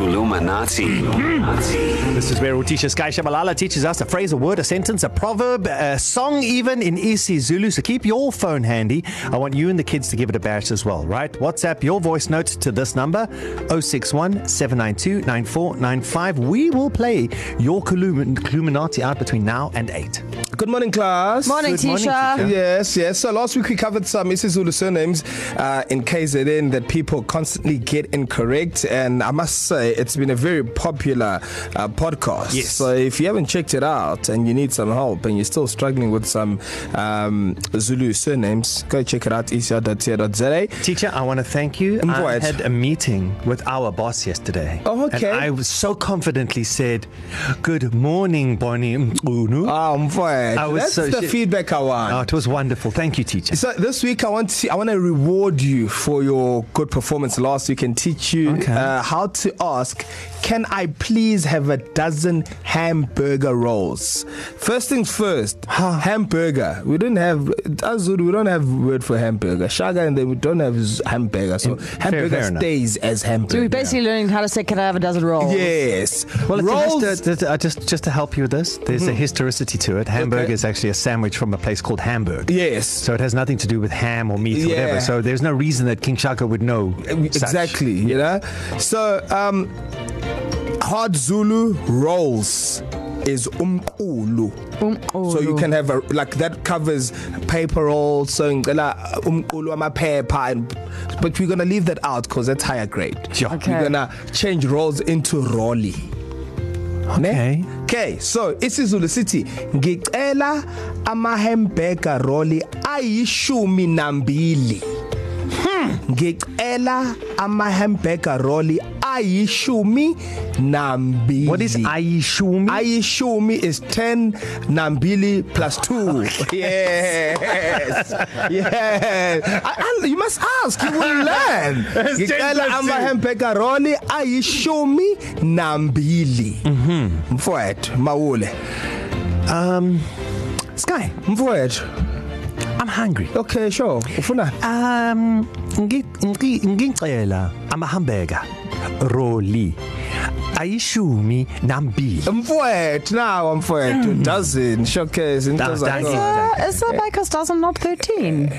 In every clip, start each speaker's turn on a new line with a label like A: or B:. A: Illuminati.
B: This is where Utisha Sky Shabalala teaches us a phrase, a word, a sentence, a proverb, a song, even in isiZulu. So keep your phone handy. I want you and the kids to give it a bash as well, right? WhatsApp your voice note to this number 061 792 9495. We will play your Illuminati out between now and 8.
C: Good morning, class.
D: Morning,
B: Good morning,
D: Tisha.
B: teacher.
C: Yes, yes. So last week we covered some isiZulu surnames uh, in KZN that people constantly get incorrect, and I must say it's been a very popular uh, podcast.
B: Yes.
C: So if you haven't checked it out and you need some help and you're still struggling with some um, Zulu surnames, go check it out ecr.co.za.
B: Teacher, I want to thank you. I
C: Right.
B: had a meeting with our boss yesterday.
C: Oh, okay.
B: And I was so confidently said, Good morning, Bonnie. Mqunu."
C: Ah, mfowethu.
B: I was
C: That's
B: so-
C: the
B: shit.
C: feedback I want.
B: Oh, it was wonderful. Thank you, teacher.
C: So this week I want to, I want to reward you for your good performance last week and teach you
B: Okay.
C: okay. uh, how to ask can I please have a dozen hamburger rolls first things first hamburger we don't have Azul we don't have word for hamburger Shaga and then we don't have z- hamburger so hamburger
B: fair
C: fair
B: enough.
C: stays as hamburger
D: So we're basically yeah. learning how to say, can I have a dozen rolls?
C: yes
B: Well,
C: rolls
B: it's just, uh, just just to help you with this, there's mm-hmm. a historicity to it. Hamburger okay.
C: Okay.
B: is actually a sandwich from a place called Hamburg.
C: yes
B: So it has nothing to do with ham or meat yeah. or whatever.
C: Yeah. Uh,
B: So there's no reason that King Shaka would know. Such.
C: exactly you know so um hard zulu rolls is umqulu
D: Um, oh,
C: so you can have a like that covers paper roll so ngicela umqulu amaphepha and but we're going to leave that out cuz that's higher grade
B: Yeah.
D: Okay.
C: we're going to change rolls into rolly
B: Okay.
C: okay so isizulu sithi ngicela amahambega rolly ayishumi nambili
B: Hmm.
C: ngicela amahambega rolly ayishumi nambili
B: What is Aishumi?
C: ayishumi is 10 nambili plus 2
B: Oh,
C: yes yes I, I, you must ask you will learn
B: It's 10
C: ngicela
B: plus two.
C: amahambega rolly ayishumi nambili
B: Mm-hmm.
C: mfowethu mawule
B: Sky,
C: mfowethu
B: I'm hungry.
C: okay sure ufuna
B: Um, ngi- ngi- ngicela amahambeka roli ayishumi nambili.
C: mfowethu nawa mfowethu
B: Mm.
C: dozen showcase into
B: Does- does-
C: zakho
D: Uh, is that because dozen not 13?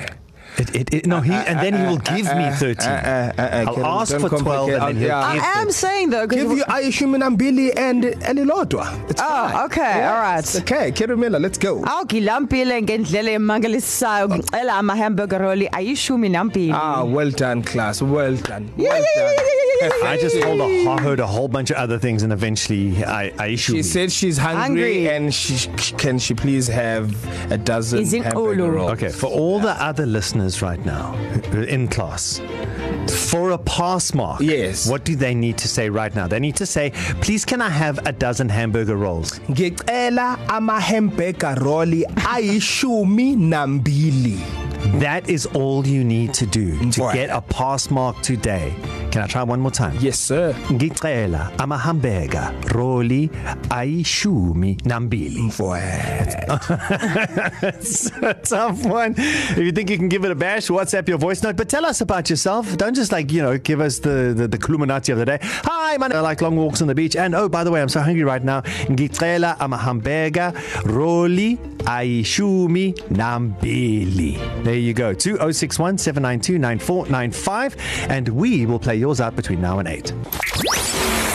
B: It, it, it, no, he and then he will give me thirteen.
C: uh, uh, uh,
B: I'll
C: Karen,
B: ask
C: don't
B: for twelve
C: complicate-
B: and then he'll
C: Yeah.
D: I
B: give
D: am saying though,
C: give
D: because
C: you ayishumi nambili and elilodwa it's
D: Ah,
C: fine.
D: okay, all right. Ah.
C: okay kerumela let's go
D: awugilampile ngendlela emangalisayo ngicela ama-hamburger roli ayishumi nambili
C: Ah, well done, class. Well done.
D: Yeah,
C: well
D: yeah, yeah,
C: done.
D: yeah, yeah,
C: uh,
D: yeah, yeah.
B: I just hold a, I heard a whole bunch of other things, and eventually I, I issued. me.
C: She said she's hungry,
D: Hungry.
C: hungry. and she can she please have a dozen
D: Is in
C: hamburger
D: Ulu.
C: rolls.
B: okay, for all the other listeners right now who are in class, for a pass mark,
C: Yes.
B: what do they need to say right now? They need to say, "Please, can I have a dozen hamburger rolls?"
C: Ngicela ama hamburger roll ayishumi nambili.
B: That is all you need to do to
C: Right.
B: get a pass mark today. Can I try one more time?
C: Yes, sir.
B: Ngicela amahambeka roli ayishumi nambili.
C: Mfowethu.
B: It's a tough one. If you think you can give it a bash, WhatsApp your voice note, but tell us about yourself. Don't just like, you know, give us the the, the Kluminati of the day. Hi, man. I like long walks on the beach. And oh, by the way, I'm so hungry right now. Ngicela amahambega roli ayishumi nambili. There you go. 2061 792 9495. And we will play yours out between now and 8.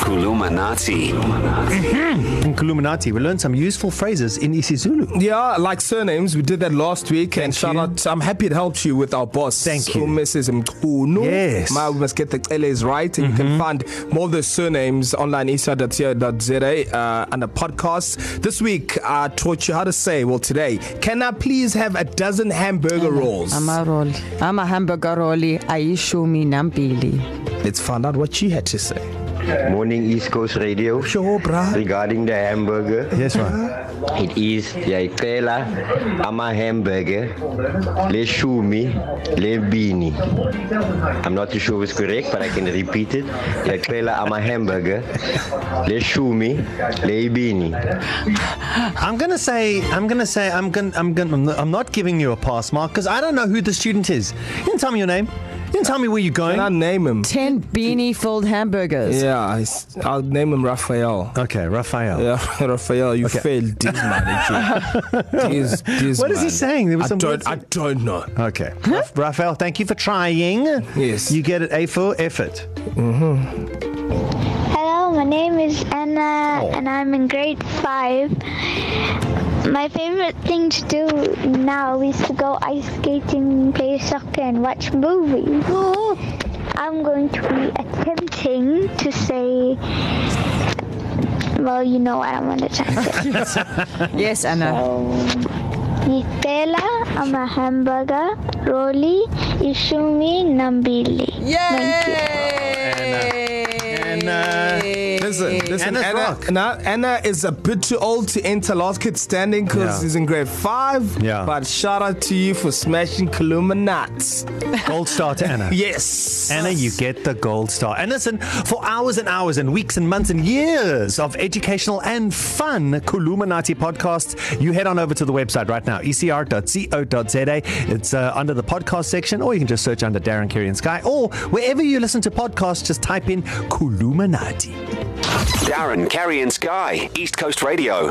A: Illuminati.
B: In Kuluminati, we learned some useful phrases in isiZulu.
C: Yeah, like surnames, we did that last week, Thank and shout
B: you.
C: out. I'm happy it helped you with our boss.
B: Thank you.
C: Mrs. Mkunu.
B: Yes.
C: Ma, we must get the LAs right, and mm-hmm. you can find more of the surnames online isa.co.za uh, and the podcast. This week, I taught you how to say, well, today, can I please have a dozen hamburger rolls?
D: amaroli ama-hamburger roli ayishumi nambili
C: Let's find out what she had to say.
E: Morning East Coast Radio.
C: Sure, brah.
E: Regarding the hamburger,
B: Yes, right.
E: it is Yaitela Ama Hamburger Leshumi Lebini. I'm not too sure if it's correct, but I can repeat it. Yaitela Ama Hamburger Leshumi Lebini.
B: I'm gonna say, I'm gonna say, I'm gonna, I'm gonna, I'm not giving you a pass mark because I don't know who the student is. You can tell me your name. You didn't tell me where you're going.
C: And I'll name him.
D: 10 beanie filled hamburgers.
C: Yeah, I s- I'll name him Raphael.
B: Okay, Raphael.
C: Yeah, Raphael, you okay. failed this man. this, this
B: What is he
C: man.
B: saying? There was
C: I
B: some
C: don't,
B: words-
C: I don't know.
B: Okay. Raf- Raphael, thank you for trying.
C: Yes.
B: You get an A for effort.
A: Hello, my name is Anna, and I'm in grade five. My favorite thing to do now is to go ice skating, play soccer, and watch movies. I'm going to be attempting to say, well, you know what I'm going to try to say. Oh.
D: Yes, Anna.
A: Nutella, I'm a hamburger, Rolly, Ishumi, Nambili. Thank you.
B: And, uh,
C: Listen, listen
B: Anna's
C: Anna,
B: rock.
C: Anna, Anna is a bit too old to enter last kid standing because
B: Yeah.
C: yeah. he's in grade five.
B: Yeah.
C: But shout out to you for smashing Kaluminats.
B: Gold star to Anna.
C: Yes.
B: Anna, you get the gold star. And listen, for hours and hours and weeks and months and years of educational and fun Kuluminati podcasts, you head on over to the website right now, E ecr.co.za. It's uh, under the podcast section, or you can just search under Darren Kerry and Sky, or wherever you listen to podcasts, just type in Kuluminati.
F: Darren, Carrie, and Sky, East Coast Radio.